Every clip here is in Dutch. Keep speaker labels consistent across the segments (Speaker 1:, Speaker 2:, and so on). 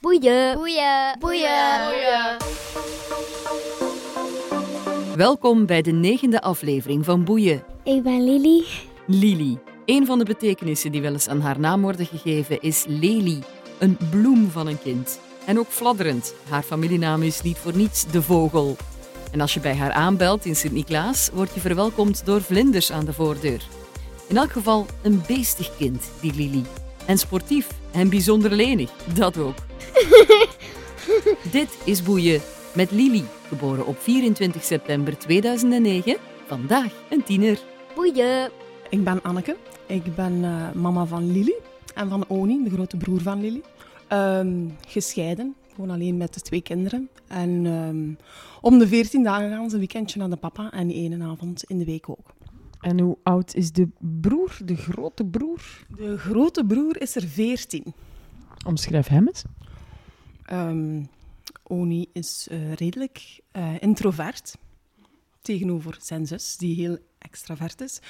Speaker 1: Boeien.
Speaker 2: Boeien.
Speaker 3: Welkom bij de negende aflevering van Boeien.
Speaker 1: Ik ben Lili.
Speaker 3: Lili. Een van de betekenissen die wel eens aan haar naam worden gegeven is Lely, een bloem van een kind. En ook fladderend. Haar familienaam is niet voor niets de vogel. En als je bij haar aanbelt in Sint-Niklaas, word je verwelkomd door vlinders aan de voordeur. In elk geval een beestig kind, die Lili. En sportief en bijzonder lenig, dat ook. Dit is Boeien met Lili, geboren op 24 september 2009. Vandaag een tiener.
Speaker 1: Boeien.
Speaker 4: Ik ben Anneke. Ik ben eh, mama van Lili en van Oni, de grote broer van Lili. Ehm, gescheiden. Ik woon alleen met de twee kinderen. En ehm, om de veertien dagen gaan ze een weekendje naar de papa en één avond in de week ook.
Speaker 5: En hoe oud is de broer, de grote broer?
Speaker 4: De grote broer is er veertien.
Speaker 5: Omschrijf hem eens.
Speaker 4: Ehm, Oni is eh, redelijk eh, introvert tegenover zijn zus, die heel extravert is.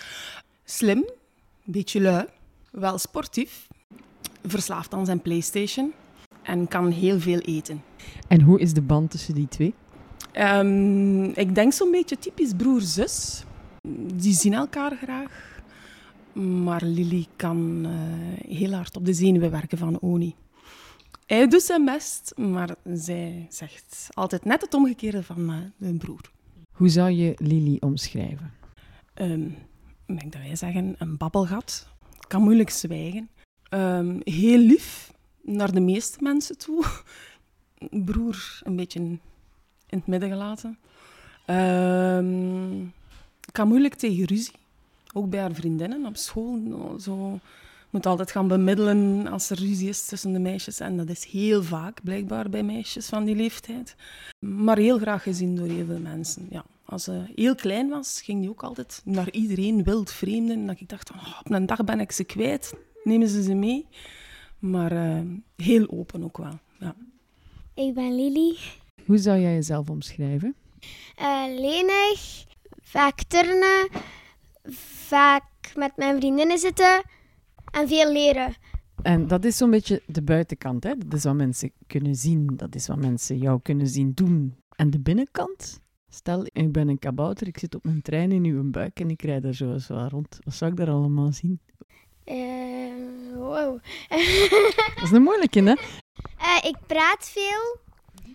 Speaker 4: Slim, een beetje lui, wel sportief, verslaafd aan zijn PlayStation en kan heel veel eten.
Speaker 5: En hoe is de band tussen die twee?
Speaker 4: Ehm, ik denk zo'n beetje typisch broer-zus. Die zien elkaar graag. Maar Lily kan eh, heel hard op de zenuwen werken van Oni. Hij doet zijn best, maar zij zegt altijd net het omgekeerde van eh, hun broer.
Speaker 5: Hoe zou je Lily omschrijven?
Speaker 4: Ehm, ik denk dat wij zeggen een babbelgat. Kan moeilijk zwijgen. Ehm, heel lief naar de meeste mensen toe. Broer een beetje in het midden gelaten. Ehm, kan moeilijk tegen ruzie. Ook bij haar vriendinnen op school. nou, Zo moet altijd gaan bemiddelen als er ruzie is tussen de meisjes. En dat is heel vaak blijkbaar bij meisjes van die leeftijd. Maar heel graag gezien door heel veel mensen. Ja. Als ze heel klein was, ging die ook altijd naar iedereen, wild vreemden. En dat ik dacht, van, oh, op een dag ben ik ze kwijt, nemen ze ze mee. Maar eh, heel open ook wel. Ja.
Speaker 1: Ik ben Lili.
Speaker 5: Hoe zou jij jezelf omschrijven?
Speaker 2: Eh, lenig, vaak turnen, vaak met mijn vriendinnen zitten en veel leren.
Speaker 5: En dat is zo'n beetje de buitenkant, hè? Dat is wat mensen kunnen zien, dat is wat mensen jou kunnen zien doen. En de binnenkant? Stel, ik ben een kabouter, ik zit op een trein in uw buik en ik rijd daar zo eens wat rond. Wat zou ik daar allemaal zien?
Speaker 2: Eh, wow.
Speaker 5: Dat is een moeilijke, hè?
Speaker 2: Eh, ik praat veel.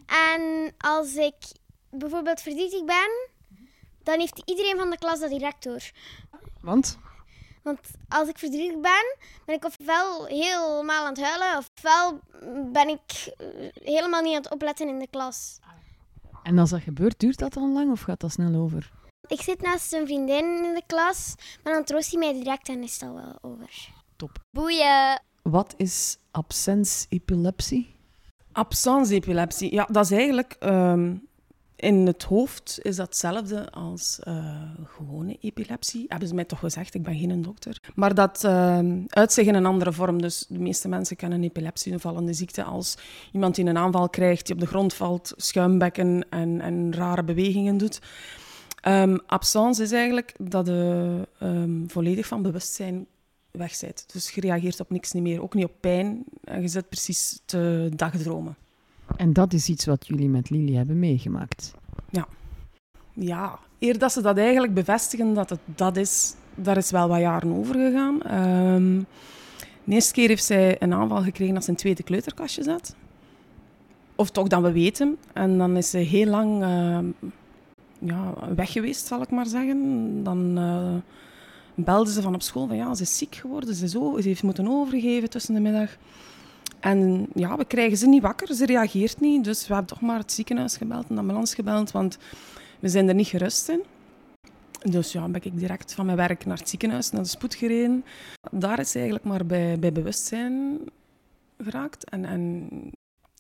Speaker 2: En als ik bijvoorbeeld verdrietig ben, dan heeft iedereen van de klas dat direct door.
Speaker 5: Want
Speaker 2: Want als ik verdrietig ben, ben ik ofwel helemaal aan het huilen, ofwel ben ik eh, helemaal niet aan het opletten in de klas.
Speaker 5: En als dat gebeurt, duurt dat dan lang of gaat dat snel over?
Speaker 2: Ik zit naast een vriendin in de klas, maar dan troost hij mij direct en is dat wel over.
Speaker 5: Top.
Speaker 2: Boeien.
Speaker 5: Wat is absens epilepsie?
Speaker 4: Absence epilepsie, ja, dat is eigenlijk ehm, in het hoofd is dat hetzelfde als eh, gewone epilepsie. Hebben ze mij toch gezegd, ik ben geen dokter. Maar dat ehm uit zich in een andere vorm. Dus de meeste mensen kennen epilepsie, een vallende ziekte, als iemand die een aanval krijgt, die op de grond valt, schuimbekken en, en rare bewegingen doet. Ehm absence is eigenlijk dat je ehm, volledig van bewustzijn weg bent. Dus je reageert op niks niet meer, ook niet op pijn. En je zit precies te dagdromen.
Speaker 5: En dat is iets wat jullie met Lily hebben meegemaakt.
Speaker 4: Ja, eer dat ze dat eigenlijk bevestigen dat het dat is, daar is wel wat jaren over gegaan. Ehm, de eerste keer heeft zij een aanval gekregen als ze in het tweede kleuterkastje zat. Of toch dat we weten. En dan is ze heel lang ehm, ja, weg geweest, zal ik maar zeggen. Dan eh belden ze van op school van ja, ze is ziek geworden. Ze, is o- ze heeft moeten overgeven tussen de middag. En ja, we krijgen ze niet wakker. Ze reageert niet. Dus we hebben toch maar het ziekenhuis gebeld en de ambulance gebeld. Want we zijn er niet gerust in. Dus ja, ben ik direct van mijn werk naar het ziekenhuis, naar de spoed gereden. Daar is ze eigenlijk maar bij, bij bewustzijn geraakt. En, en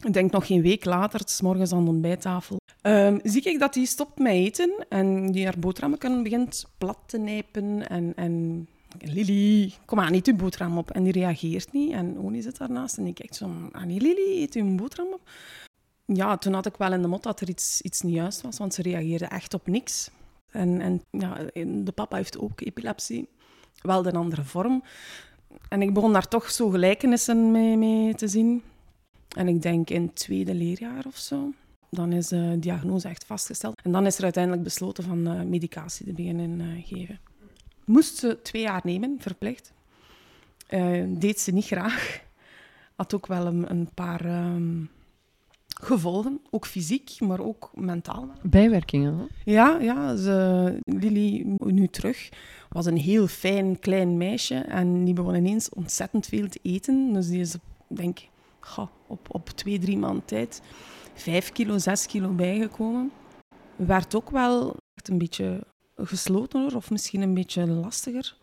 Speaker 4: ik denk nog geen week later, het is morgens aan de ontbijttafel, ehm, zie ik dat die stopt met eten en die haar boterhammen begint plat te nijpen. En, en Lili, kom aan, eet uw boterham op. En die reageert niet. En Oni zit daarnaast en die kijkt zo, Annie, Lili, eet uw boterham op. Ja, toen had ik wel in de mot dat er iets, iets niet juist was, want ze reageerde echt op niks. En, en ja, de papa heeft ook epilepsie, wel een andere vorm. En ik begon daar toch zo gelijkenissen mee, mee te zien. En ik denk in het tweede leerjaar of zo. Dan is de diagnose echt vastgesteld. En dan is er uiteindelijk besloten van eh, medicatie te beginnen eh, geven. Moest ze twee jaar nemen, verplicht. Eh, deed ze niet graag. Had ook wel een, een paar ehm, gevolgen. Ook fysiek, maar ook mentaal.
Speaker 5: Bijwerkingen. hè?
Speaker 4: Ja, ja ze, Lily, nu terug, was een heel fijn klein meisje. En die begon ineens ontzettend veel te eten. Dus die is, denk ik, goh, op, op twee, drie maanden tijd vijf kilo, zes kilo bijgekomen. Werd ook wel echt een beetje geslotener of misschien een beetje lastiger.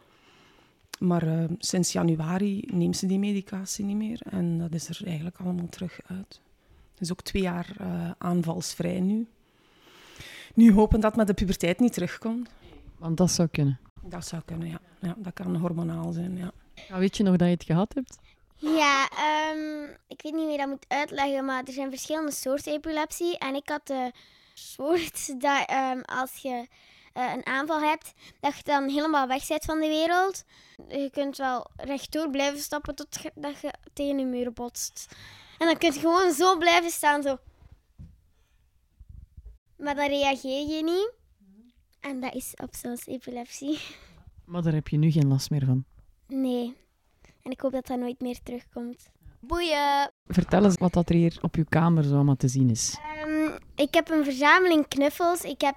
Speaker 4: Maar eh, sinds januari neemt ze die medicatie niet meer. En dat is er eigenlijk allemaal terug uit. Dus ook twee jaar eh, aanvalsvrij nu. Nu hopen dat met de puberteit niet terugkomt.
Speaker 5: Want dat zou kunnen.
Speaker 4: Dat zou kunnen, ja. ja dat kan hormonaal zijn, ja.
Speaker 5: Ja, Nou, weet je nog dat je het gehad hebt?
Speaker 2: Ja, ehm, ik weet niet meer dat moet uitleggen, maar er zijn verschillende soorten epilepsie. En ik had de soort dat ehm, als je eh, een aanval hebt, dat je dan helemaal weg bent van de wereld. Je kunt wel rechtdoor blijven stappen tot ge- dat je tegen een muur botst. En dan kun je gewoon zo blijven staan, zo. Maar dan reageer je niet. En dat is op zo'n epilepsie.
Speaker 5: Maar daar heb je nu geen last meer van.
Speaker 2: Nee. En ik hoop dat dat nooit meer terugkomt. Boeien!
Speaker 5: Vertel eens wat dat er hier op je kamer zo allemaal te zien is.
Speaker 2: Ehm, ik heb een verzameling knuffels. Ik heb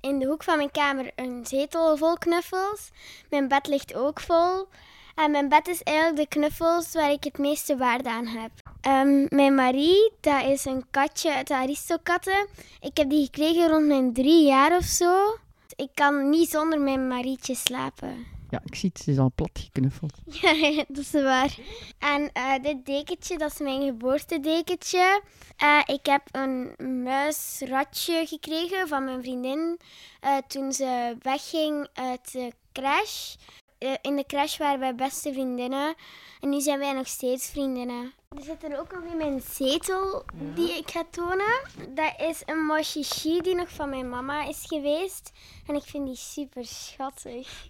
Speaker 2: in de hoek van mijn kamer een zetel vol knuffels. Mijn bed ligt ook vol. En mijn bed is eigenlijk de knuffels waar ik het meeste waarde aan heb. Ehm, mijn Marie, dat is een katje uit de Aristokatten. Ik heb die gekregen rond mijn drie jaar of zo. Ik kan niet zonder mijn Marietje slapen.
Speaker 5: Ja, ik zie het, ze is al plat geknuffeld.
Speaker 2: Ja, dat is waar. En eh, dit dekentje, dat is mijn geboortedekentje. Eh, ik heb een muisratje gekregen van mijn vriendin eh, toen ze wegging uit de crash. Eh, in de crash waren wij beste vriendinnen. En nu zijn wij nog steeds vriendinnen. Er zit er ook nog in mijn zetel die ik ga tonen. Dat is een moshishi die nog van mijn mama is geweest. En ik vind die super schattig.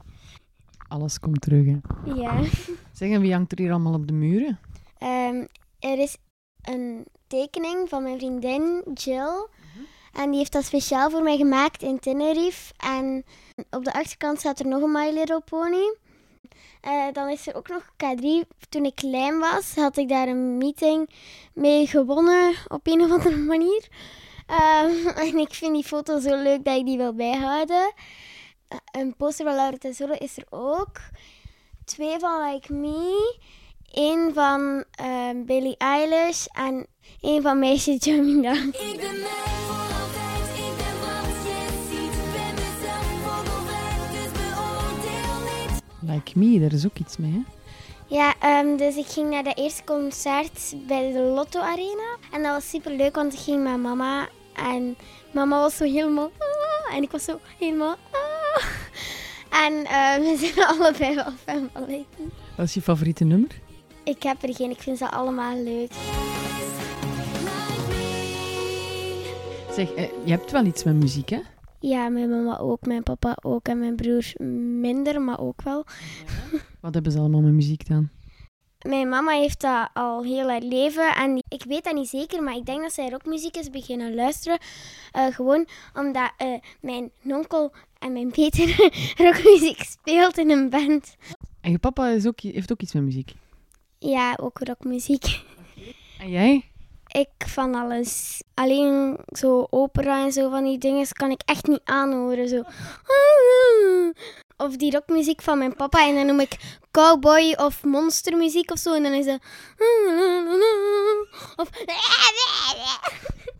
Speaker 5: Alles komt terug, hè.
Speaker 2: Ja.
Speaker 5: Zeg, en wie hangt er hier allemaal op de muren?
Speaker 2: Ehm, er is een tekening van mijn vriendin Jill. En die heeft dat speciaal voor mij gemaakt in Tenerife. En op de achterkant staat er nog een My Little Pony. Eh, dan is er ook nog K3. Toen ik klein was, had ik daar een meeting mee gewonnen op een of andere manier. Ehm, en ik vind die foto zo leuk dat ik die wil bijhouden. Eh, Een poster van Laura Tesoro is er ook. Twee van Like Me. Eén van ehm, Billie Eilish en één van Meisje Jamina.
Speaker 6: Ik ben mij voor altijd, ik ben wat je ziet. Ben mezelf vogelvrij, dus beoordeel niet.
Speaker 5: Like me, daar is ook iets mee, hè.
Speaker 2: Ja, ehm, dus ik ging naar dat eerste concert bij de Lotto Arena. En dat was super leuk, want ik ging met mama. En mama was zo helemaal. "Ah," en ik was zo helemaal. "Ah." En ehm, we zijn allebei wel fan van Lady.
Speaker 5: Wat is je favoriete nummer?
Speaker 2: Ik heb er geen, ik vind ze allemaal leuk.
Speaker 6: Yes, like me.
Speaker 5: Zeg, eh, je hebt wel iets met muziek, hè?
Speaker 2: Ja, mijn mama ook, mijn papa ook en mijn broer minder, maar ook wel.
Speaker 5: Wat hebben ze allemaal met muziek dan?
Speaker 2: Mijn mama heeft dat al heel haar leven. En ik weet dat niet zeker, maar ik denk dat zij rockmuziek is beginnen luisteren. Eh, gewoon omdat eh, mijn nonkel en mijn Peter rockmuziek speelt in een band.
Speaker 5: En je papa is ook, heeft ook iets met muziek.
Speaker 2: Ja, ook rockmuziek.
Speaker 5: En jij?
Speaker 2: Ik van alles. Alleen zo opera en zo van die dingen kan ik echt niet aanhoren. Zo. Of die rockmuziek van mijn papa. En dan noem ik cowboy of monstermuziek of zo. En dan is dat. Of.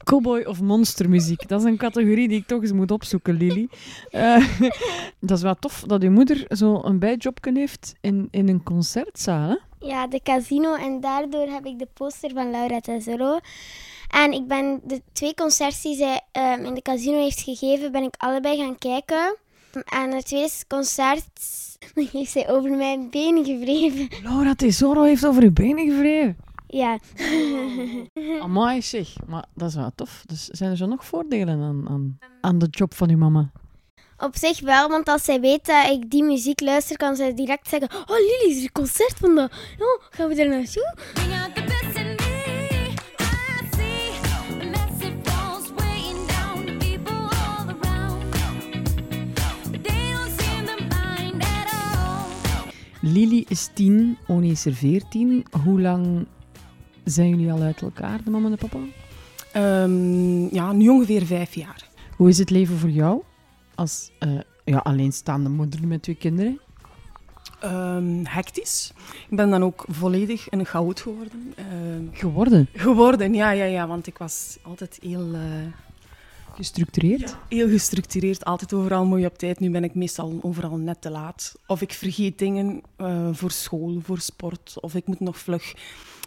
Speaker 5: Cowboy of monstermuziek. Dat is een categorie die ik toch eens moet opzoeken, Lily. Eh, dat is wel tof dat je moeder zo'n bijjobken heeft in, in een concertzaal. Hè?
Speaker 2: Ja, de casino. En daardoor heb ik de poster van Laura Tesoro. En ik ben de twee concerts die zij ehm, in de casino heeft gegeven, ben ik allebei gaan kijken. En het tweede concert heeft zij over mijn been gewreven.
Speaker 5: Laura Tesoro heeft over je benen gevreven.
Speaker 2: Ja,
Speaker 5: Amai zeg, maar dat is wel tof. Dus zijn er zo nog voordelen aan, aan, aan de job van uw mama?
Speaker 2: op zich wel, want als zij weet dat ik die muziek luister, kan zij direct zeggen: Oh, Lily, is er een concert vandaag? Oh, gaan we daar naartoe?
Speaker 6: Bring out the best in me. I
Speaker 5: Lily is tien, Oni is er veertien. Hoe lang zijn jullie al uit elkaar, de mama en de papa?
Speaker 4: Ehm, ja, nu ongeveer vijf jaar.
Speaker 5: Hoe is het leven voor jou als eh, ja, alleenstaande moeder met twee kinderen?
Speaker 4: Ehm, hectisch. Ik ben dan ook volledig een goud geworden. Ehm,
Speaker 5: Geworden,
Speaker 4: geworden, ja, ja, ja, want ik was altijd heel, eh,
Speaker 5: gestructureerd.
Speaker 4: heel gestructureerd, altijd overal mooi op tijd. Nu ben ik meestal overal net te laat. Of ik vergeet dingen eh, voor school, voor sport, of ik moet nog vlug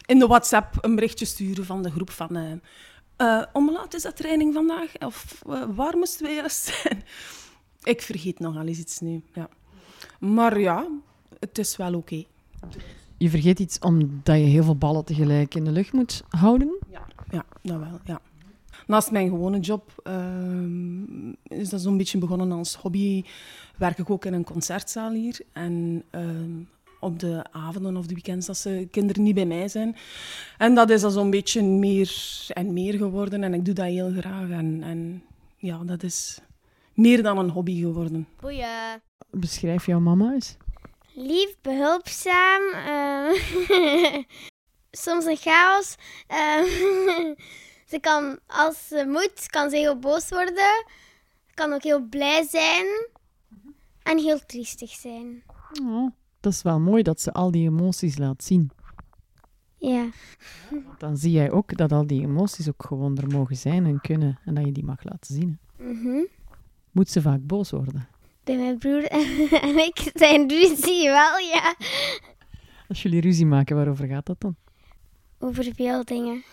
Speaker 4: in de WhatsApp een berichtje sturen van de groep van... eh eh, om hoe laat is dat training vandaag? Of eh, waar moesten we juist zijn? ik vergeet nogal eens iets nu, ja. Maar ja, het is wel oké.
Speaker 5: Je vergeet iets omdat je heel veel ballen tegelijk in de lucht moet houden.
Speaker 4: Ja, dat wel, ja. Naast mijn gewone job ehm, is dat zo'n beetje begonnen als hobby. Werk ik ook in een concertzaal hier. En ehm, op de avonden of de weekends dat ze kinderen niet bij mij zijn. En dat is dan zo'n beetje meer en meer geworden. En ik doe dat heel graag. En, en ja, dat is meer dan een hobby geworden.
Speaker 2: Boeien.
Speaker 5: Beschrijf jouw mama eens.
Speaker 2: Lief, behulpzaam. ehm, soms een chaos. ehm, ze kan, als ze moet, kan ze heel boos worden. Kan ook heel blij zijn. En heel triestig zijn.
Speaker 5: Oh, dat is wel mooi dat ze al die emoties laat zien.
Speaker 2: Ja.
Speaker 5: Want Dan zie jij ook dat al die emoties ook gewoon er mogen zijn en kunnen. En dat je die mag laten zien. hè.
Speaker 2: Mhm.
Speaker 5: Moet ze vaak boos worden.
Speaker 2: Bij mijn broer en ik zijn ruzie wel, ja.
Speaker 5: Als jullie ruzie maken, waarover gaat dat dan?
Speaker 2: Over veel dingen.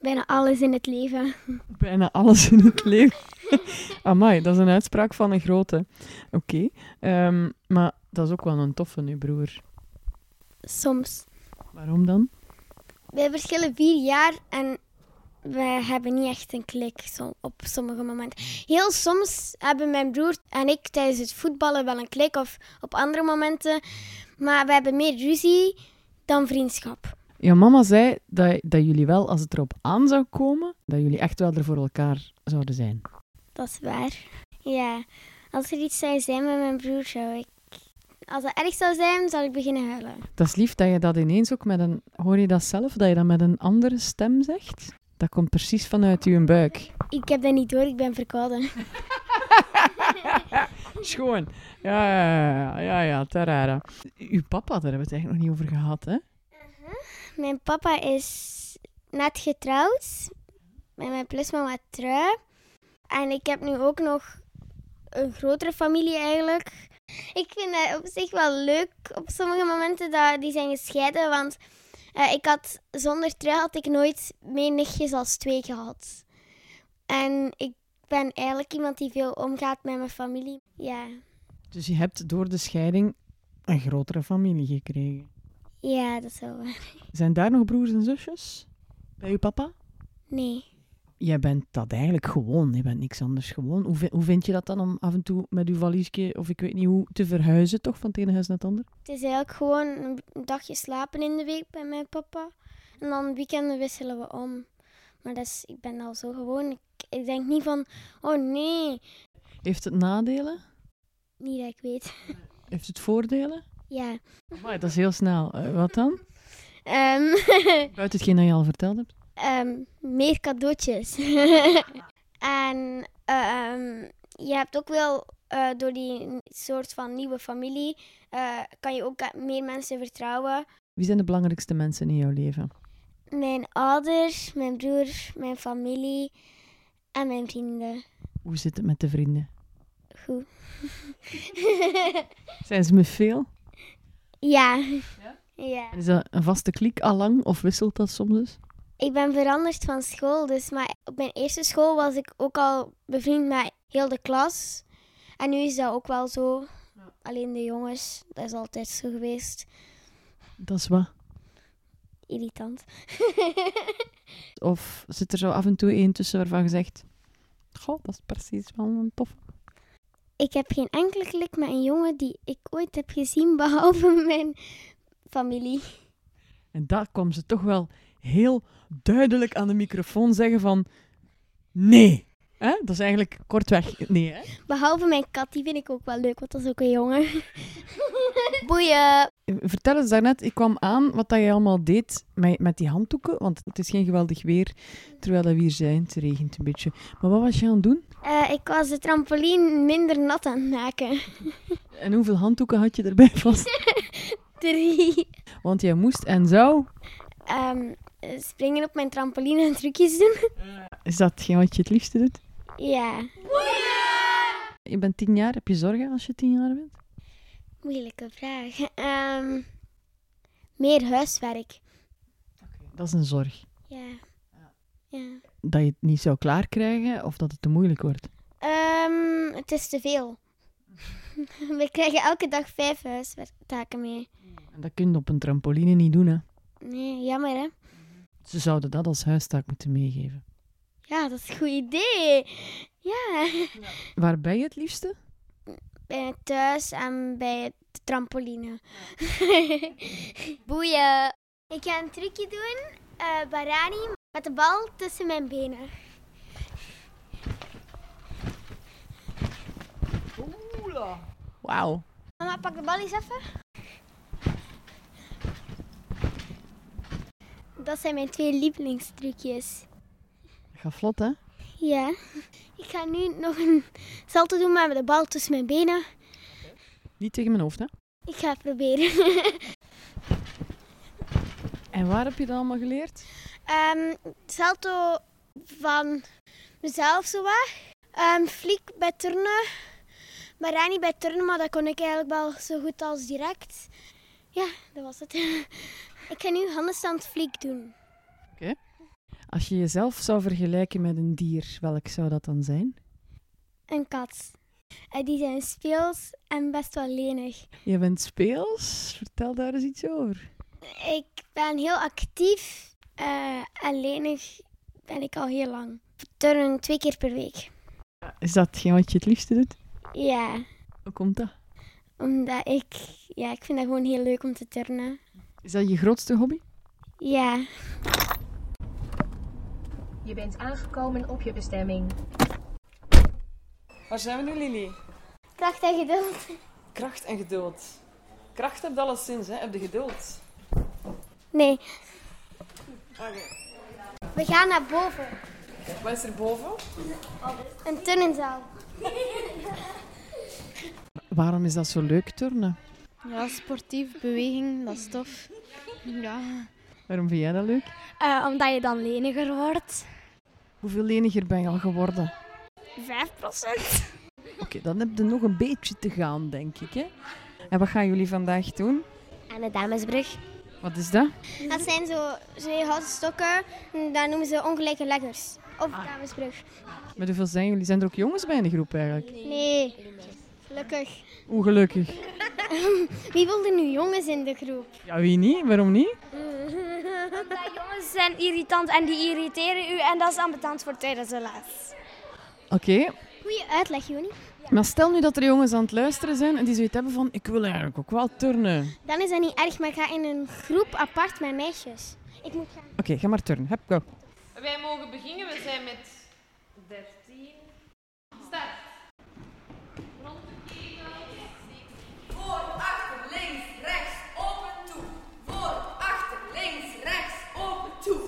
Speaker 2: Bijna alles in het leven.
Speaker 5: Bijna alles in het leven. Amai, dat is een uitspraak van een grote. Oké, ehm, maar dat is ook wel een toffe, nu broer.
Speaker 2: Soms.
Speaker 5: Waarom dan?
Speaker 2: Wij verschillen vier jaar en we hebben niet echt een klik zo- op sommige momenten. Heel soms hebben mijn broer en ik tijdens het voetballen wel een klik of op andere momenten. Maar we hebben meer ruzie dan vriendschap.
Speaker 5: Jouw mama zei dat, dat jullie wel, als het erop aan zou komen, dat jullie echt wel er voor elkaar zouden zijn.
Speaker 2: Dat is waar. Ja, als er iets zou zijn met mijn broer, zou ik... Als dat erg zou zijn, zou ik beginnen huilen.
Speaker 5: Dat is lief dat je dat ineens ook met een... Hoor je dat zelf, dat je dat met een andere stem zegt? Dat komt precies vanuit uw buik.
Speaker 2: Ik heb dat niet door, ik ben verkouden.
Speaker 5: Schoon. Ja, ja, ja, ja, ja, tarara. Uw papa, daar hebben we het eigenlijk nog niet over gehad, hè?
Speaker 2: Mijn papa is net getrouwd met mijn plusmama Trui. En ik heb nu ook nog een grotere familie eigenlijk. Ik vind dat op zich wel leuk op sommige momenten dat die zijn gescheiden. Want eh, ik had, zonder Trui had ik nooit meer nichtjes als twee gehad. En ik ben eigenlijk iemand die veel omgaat met mijn familie. Ja,
Speaker 5: Dus je hebt door de scheiding een grotere familie gekregen.
Speaker 2: ja dat zou wel.
Speaker 5: Zijn daar nog broers en zusjes? Bij uw papa?
Speaker 2: Nee.
Speaker 5: Jij bent dat eigenlijk gewoon. Je bent niks anders gewoon. Hoe, vi- hoe vind je dat dan om af en toe met uw valiesje, of ik weet niet hoe, te verhuizen toch van het ene huis naar het ander?
Speaker 2: Het is eigenlijk gewoon een een dagje slapen in de week bij mijn papa. En dan weekenden wisselen we om. Maar dat is, ik ben al zo gewoon. Ik, ik denk niet van, oh nee,
Speaker 5: Heeft het nadelen?
Speaker 2: niet dat ik weet.
Speaker 5: Heeft het voordelen?
Speaker 2: Ja.
Speaker 5: Amai, dat is heel snel. Eh, wat dan?
Speaker 2: Ehm,
Speaker 5: Buiten hetgeen dat je al verteld hebt.
Speaker 2: ehm, meer cadeautjes. en ehm, je hebt ook wel, eh, door die soort van nieuwe familie, eh, kan je ook meer mensen vertrouwen.
Speaker 5: Wie zijn de belangrijkste mensen in jouw leven?
Speaker 2: Mijn ouders, mijn broer, mijn familie en mijn vrienden.
Speaker 5: Hoe zit het met de vrienden?
Speaker 2: Goed.
Speaker 5: Zijn ze met veel?
Speaker 2: ja. Ja.
Speaker 5: En Is dat een vaste kliek al lang of wisselt dat soms eens?
Speaker 2: Ik ben veranderd van school, dus maar op mijn eerste school was ik ook al bevriend met heel de klas. En nu is dat ook wel zo. Alleen de jongens, dat is altijd zo geweest.
Speaker 5: Dat is wat.
Speaker 2: Irritant.
Speaker 5: Of zit er zo af en toe één tussen waarvan je zegt... Goh, dat is precies wel een tof.
Speaker 2: ik heb geen enkele klik met een jongen die ik ooit heb gezien, behalve mijn familie.
Speaker 5: En daar kwam ze toch wel heel duidelijk aan de microfoon zeggen van... Nee, Hè? Dat is eigenlijk kortweg... Nee, hè?
Speaker 2: Behalve mijn kat, die vind ik ook wel leuk, want dat is ook een jongen. Boeien.
Speaker 5: Vertel eens daarnet, ik kwam aan wat dat jij allemaal deed met, met die handdoeken. Want het is geen geweldig weer, terwijl dat we hier zijn. Het regent een beetje. Maar wat was je aan het doen?
Speaker 2: Eh, ik was de trampoline minder nat aan het maken.
Speaker 5: En hoeveel handdoeken had je erbij vast?
Speaker 2: Drie.
Speaker 5: Want jij moest en zou...
Speaker 2: Ehm, eh, springen op mijn trampoline en trucjes doen.
Speaker 5: Is dat hetgeen wat je het liefste doet?
Speaker 2: Ja,
Speaker 5: Je bent tien jaar, heb je zorgen als je tien jaar bent?
Speaker 2: moeilijke vraag. Ehm, meer huiswerk.
Speaker 5: Dat is een zorg.
Speaker 2: Ja. ja.
Speaker 5: Dat je het niet zou klaarkrijgen of dat het te moeilijk wordt.
Speaker 2: Ehm, het is te veel. We krijgen elke dag vijf huistaken mee.
Speaker 5: En dat kun je op een trampoline niet doen, hè.
Speaker 2: Nee, jammer hè.
Speaker 5: Ze zouden dat als huistaak moeten meegeven.
Speaker 2: Ja, dat is een goed idee. Ja.
Speaker 5: Waar ben je het liefste?
Speaker 2: Bij thuis en bij de trampoline. Boeien. Ik ga een trucje doen, eh, Barani, met de bal tussen mijn benen.
Speaker 5: Wauw.
Speaker 2: Mama, pak de bal eens even. Dat zijn mijn twee lievelingstrucjes.
Speaker 5: Ga vlot, hè?
Speaker 2: Ja. Ik ga nu nog een salto doen, maar met de bal tussen mijn benen.
Speaker 5: Niet tegen mijn hoofd, hè?
Speaker 2: Ik ga het proberen.
Speaker 5: En waar heb je dat allemaal geleerd?
Speaker 2: Ehm, salto van mezelf zo wat. Ehm, fliek bij turnen. Barani bij turnen, maar dat kon ik eigenlijk wel zo goed als direct. Ja, dat was het. ik ga nu handstand fliek doen.
Speaker 5: Als je jezelf zou vergelijken met een dier, welk zou dat dan zijn?
Speaker 2: Een kat. Eh, die zijn speels en best wel lenig.
Speaker 5: Je bent speels. Vertel daar eens iets over.
Speaker 2: Ik ben heel actief eh, en lenig ben ik al heel lang. Turnen twee keer per week.
Speaker 5: Is dat hetgeen wat je het liefste doet?
Speaker 2: Ja,
Speaker 5: Hoe komt dat?
Speaker 2: omdat ik... Ja, ik vind dat gewoon heel leuk om te turnen.
Speaker 5: Is dat je grootste hobby?
Speaker 2: Ja.
Speaker 7: Je bent aangekomen op je bestemming.
Speaker 3: Waar zijn we nu, Lili?
Speaker 2: Kracht en geduld.
Speaker 3: Kracht en geduld. Kracht heb je alleszins, hè? Heb je geduld.
Speaker 2: Nee. We gaan naar boven.
Speaker 3: Wat is er boven?
Speaker 2: Een turnzaal.
Speaker 5: Waarom is dat zo leuk, turnen?
Speaker 8: Ja, sportief, beweging, dat is tof. Ja.
Speaker 5: Waarom vind jij dat leuk?
Speaker 8: Eh, omdat je dan leniger wordt.
Speaker 5: Hoeveel leniger ben je al geworden?
Speaker 8: 5%.
Speaker 5: Oké, dan heb je nog een beetje te gaan, denk ik, hè? En wat gaan jullie vandaag doen?
Speaker 8: Aan de Damesbrug.
Speaker 5: Wat is dat?
Speaker 2: Dat zijn zo twee houten stokken. en Daar noemen ze ongelijke leggers. Of Damesbrug.
Speaker 5: Met hoeveel zijn jullie? Zijn er ook jongens bij in de groep eigenlijk?
Speaker 2: Nee. Gelukkig.
Speaker 5: Ongelukkig.
Speaker 2: Wie wil er nu jongens in de groep?
Speaker 5: Ja, wie niet? Waarom niet?
Speaker 8: Jongens zijn irritant en die irriteren u en dat is ambetant voor tijdens de les.
Speaker 5: Oké,
Speaker 2: Goeie uitleg, Joni.
Speaker 5: maar stel nu dat er jongens aan het luisteren zijn en die zoiets hebben van ik wil eigenlijk ook wel turnen. Oké,
Speaker 2: Dan is dat niet erg, maar ga in een groep apart met meisjes. Ik moet gaan.
Speaker 5: ga maar turnen. Heb go.
Speaker 9: Wij mogen beginnen. We zijn met 13. Start. Rond de kegel. Voor, achter, links, rechts, open toe. Voor, achter, links, rechts, open toe.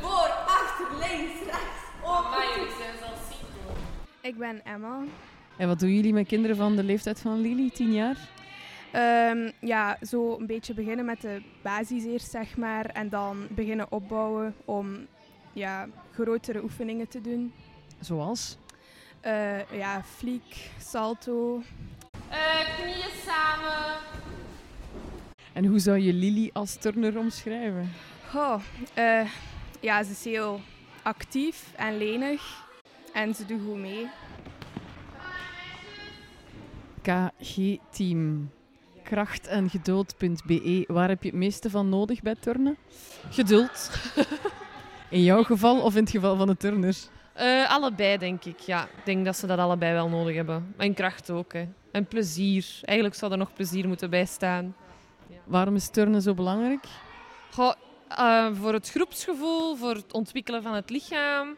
Speaker 9: Voor, achter, links, rechts, open toe. Maar jullie zijn al ziek hoor.
Speaker 8: Ik ben Emma.
Speaker 5: En wat doen jullie met kinderen van de leeftijd van Lily, 10 jaar?
Speaker 10: Ehm, ja, zo een beetje beginnen met de basis eerst, zeg maar. En dan beginnen opbouwen om ja, grotere oefeningen te doen.
Speaker 5: Zoals?
Speaker 10: Eh, ja, fliek, salto.
Speaker 9: Eh, knieën samen.
Speaker 5: En hoe zou je Lily als turner omschrijven?
Speaker 10: Goh, eh, ja, ze is heel actief en lenig. En ze doet goed mee.
Speaker 5: KG-team. Kracht en geduld.be. E. Waar heb je het meeste van nodig bij turnen?
Speaker 9: Geduld.
Speaker 5: In jouw geval of in het geval van de turners?
Speaker 9: Eh, allebei denk ik, ja. Ik denk dat ze dat allebei wel nodig hebben. En kracht ook, hè. En plezier. Eigenlijk zou er nog plezier moeten bij staan.
Speaker 5: Waarom is turnen zo belangrijk?
Speaker 9: Goh, eh, voor het groepsgevoel, voor het ontwikkelen van het lichaam.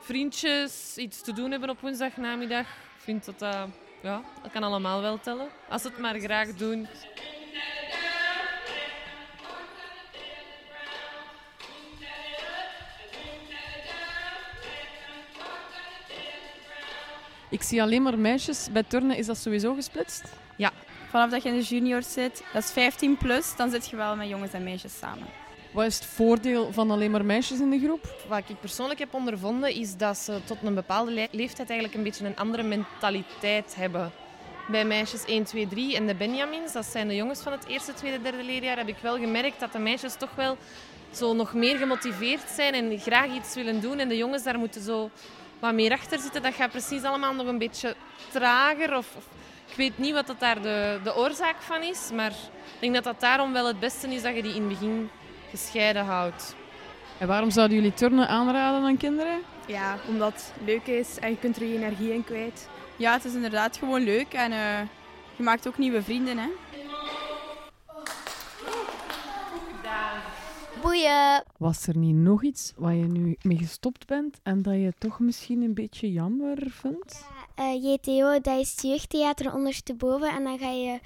Speaker 9: vriendjes iets te doen hebben op woensdagnamiddag. Ik vind dat dat... ja, dat kan allemaal wel tellen. Als ze het maar graag doen.
Speaker 5: Ik zie alleen maar meisjes. Bij turnen is dat sowieso gesplitst.
Speaker 11: Vanaf dat je in de junior zit, dat is 15 plus, dan zit je wel met jongens en meisjes samen.
Speaker 5: Wat is het voordeel van alleen maar meisjes in de groep?
Speaker 12: Wat ik persoonlijk heb ondervonden is dat ze tot een bepaalde le- leeftijd eigenlijk een beetje een andere mentaliteit hebben. Bij meisjes 1, 2, 3 en de Benjamins, dat zijn de jongens van het eerste, tweede, derde leerjaar, heb ik wel gemerkt dat de meisjes toch wel zo nog meer gemotiveerd zijn en graag iets willen doen. En de jongens daar moeten zo wat meer achter zitten. Dat gaat precies allemaal nog een beetje trager. Of, of, ik weet niet wat dat daar de, de oorzaak van is, maar ik denk dat dat daarom wel het beste is dat je die in het begin gescheiden houdt.
Speaker 5: En waarom zouden jullie turnen aanraden aan kinderen?
Speaker 10: Ja, omdat het leuk is en je kunt er je energie in kwijt.
Speaker 11: Ja, het is inderdaad gewoon leuk en eh, je maakt ook nieuwe vrienden. Hè?
Speaker 2: Boeien.
Speaker 5: Was er niet nog iets waar je nu mee gestopt bent en dat je toch misschien een beetje jammer vindt?
Speaker 2: Eh, JTO, dat is het jeugdtheater ondersteboven. En dan ga je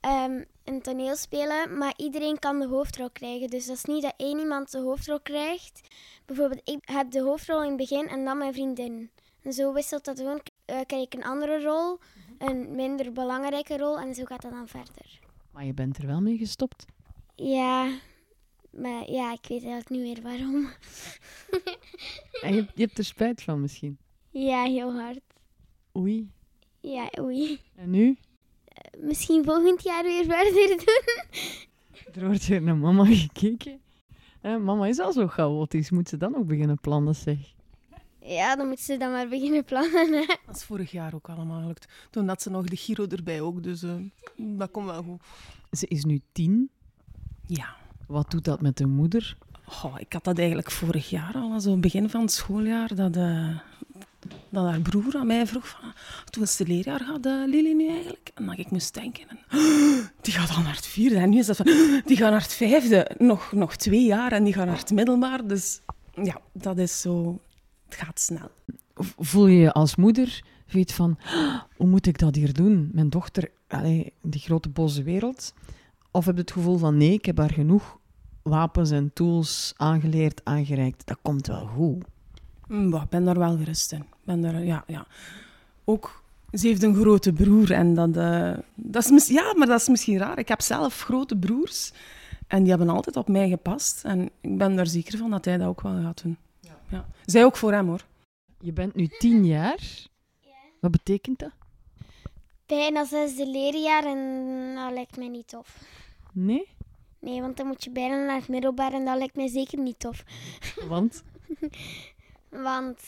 Speaker 2: ehm, een toneel spelen. Maar iedereen kan de hoofdrol krijgen. Dus dat is niet dat één iemand de hoofdrol krijgt. Bijvoorbeeld, ik heb de hoofdrol in het begin en dan mijn vriendin. En zo wisselt dat gewoon. Eh, krijg ik een andere rol, een minder belangrijke rol. En zo gaat dat dan verder.
Speaker 5: Maar je bent er wel mee gestopt.
Speaker 2: Ja, maar ja, ik weet eigenlijk niet meer waarom.
Speaker 5: En je, je hebt er spijt van misschien.
Speaker 2: ja, heel hard.
Speaker 5: Oei.
Speaker 2: Ja, oei.
Speaker 5: En nu?
Speaker 2: Misschien volgend jaar weer verder doen.
Speaker 5: Er wordt weer naar mama gekeken. Eh, mama is al zo chaotisch. Moet ze dan ook beginnen plannen, zeg?
Speaker 2: Ja, dan moeten ze dan maar beginnen plannen. Hè.
Speaker 4: Dat is vorig jaar ook allemaal gelukt. Toen had ze nog de Giro erbij ook, dus eh, dat komt wel goed.
Speaker 5: Ze is nu tien.
Speaker 4: Ja.
Speaker 5: Wat doet dat met de moeder?
Speaker 4: Goh, ik had dat eigenlijk vorig jaar al, zo begin van het schooljaar, dat, eh, dat haar broer aan mij vroeg van, toen is het leerjaar gaat eh, Lily nu eigenlijk? En dat ik moest denken, en, "Oh, die gaat al naar het vierde. En nu is dat van, oh, die gaat naar het vijfde. Nog, nog twee jaar en die gaat naar het middelbaar. Dus ja, dat is zo, het gaat snel.
Speaker 5: V- Voel je je als moeder, weet van, "Ah, hoe moet ik dat hier doen? Mijn dochter, allee, die grote boze wereld. Of heb je het gevoel van, nee, ik heb haar genoeg wapens en tools aangeleerd, aangereikt. Dat komt wel goed.
Speaker 4: Mm, bah, Ik ben daar wel gerust in. Ik Ben daar, ja, ja. Ook, ze heeft een grote broer. En dat, eh, dat is mis- ja, maar dat is misschien raar. Ik heb zelf grote broers. En die hebben altijd op mij gepast. En ik ben daar zeker van dat hij dat ook wel gaat doen. Ja. Zij ook voor hem, hoor.
Speaker 5: Je bent nu tien jaar. Wat betekent dat?
Speaker 2: Bijna zesde leerjaar en dat lijkt mij niet tof.
Speaker 5: Nee?
Speaker 2: Nee, want dan moet je bijna naar het middelbaar en dat lijkt mij zeker niet tof.
Speaker 5: Want?
Speaker 2: Want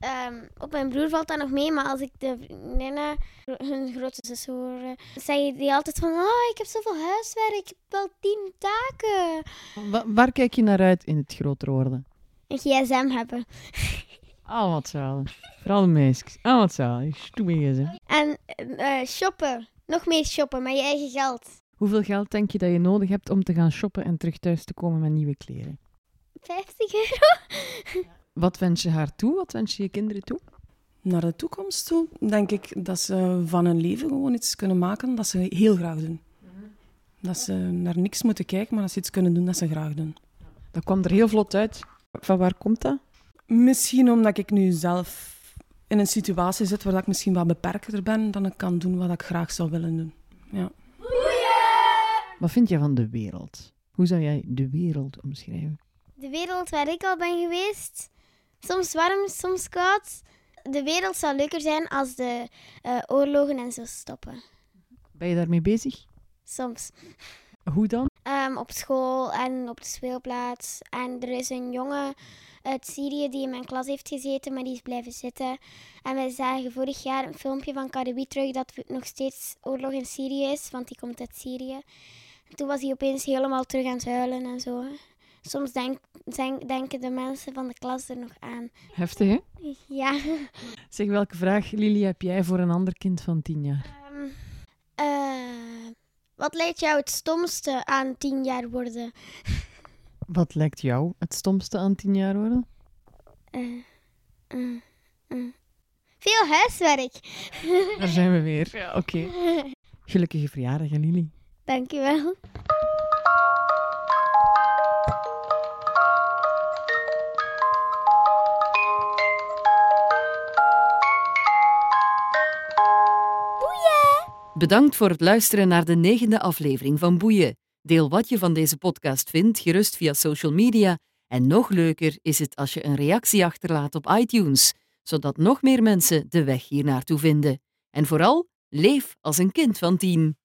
Speaker 2: ehm, op mijn broer valt dat nog mee, maar als ik de vriendinnen, hun grote zus hoor, eh, zeggen die altijd van oh, ik heb zoveel huiswerk, ik heb wel tien taken.
Speaker 5: Wa- waar kijk je naar uit in het groter worden?
Speaker 2: Een gsm hebben.
Speaker 5: Ah, wat zalig. Vooral de meisjes. Ah, wat zalig. Stoemig hè.
Speaker 2: En eh, eh, shoppen. Nog meer shoppen met je eigen geld.
Speaker 5: Hoeveel geld denk je dat je nodig hebt om te gaan shoppen en terug thuis te komen met nieuwe kleren?
Speaker 2: 50 euro?
Speaker 5: Wat wens je haar toe? Wat wens je je kinderen toe?
Speaker 4: Naar de toekomst toe denk ik dat ze van hun leven gewoon iets kunnen maken dat ze heel graag doen. Dat ze naar niks moeten kijken, maar dat ze iets kunnen doen dat ze graag doen.
Speaker 5: Dat kwam er heel vlot uit. Van waar komt dat?
Speaker 4: Misschien omdat ik nu zelf in een situatie zit waar dat ik misschien wat beperkter ben dan ik kan doen wat ik graag zou willen doen. Ja.
Speaker 5: Wat vind jij van de wereld? Hoe zou jij de wereld omschrijven?
Speaker 2: De wereld waar ik al ben geweest. Soms warm, soms koud. De wereld zou leuker zijn als de eh, oorlogen en zo stoppen.
Speaker 5: Ben je daarmee bezig?
Speaker 2: Soms.
Speaker 5: Hoe dan?
Speaker 2: Ehm, op school en op de speelplaats. En er is een jongen uit Syrië die in mijn klas heeft gezeten, maar die is blijven zitten. En wij zagen vorig jaar een filmpje van Kadawi terug dat er nog steeds oorlog in Syrië is, want die komt uit Syrië. En toen was hij opeens helemaal terug aan het huilen en zo. Soms denk, denk- denken de mensen van de klas er nog aan.
Speaker 5: Heftig, hè?
Speaker 2: Ja.
Speaker 5: Zeg, welke vraag, Lili, heb jij voor een ander kind van tien jaar?
Speaker 2: Ehm, eh, wat lijkt jou het stomste aan tien jaar worden?
Speaker 5: Wat lijkt jou het stomste aan tien jaar worden?
Speaker 2: Eh, Eh, eh. Veel huiswerk.
Speaker 5: Daar zijn we weer. Oké. Gelukkige verjaardag aan jullie.
Speaker 2: Dankjewel.
Speaker 3: Bedankt voor het luisteren naar de negende aflevering van Boeien. Deel wat je van deze podcast vindt gerust via social media. En nog leuker is het als je een reactie achterlaat op iTunes, zodat nog meer mensen de weg hier naartoe vinden. En vooral, leef als een kind van tien.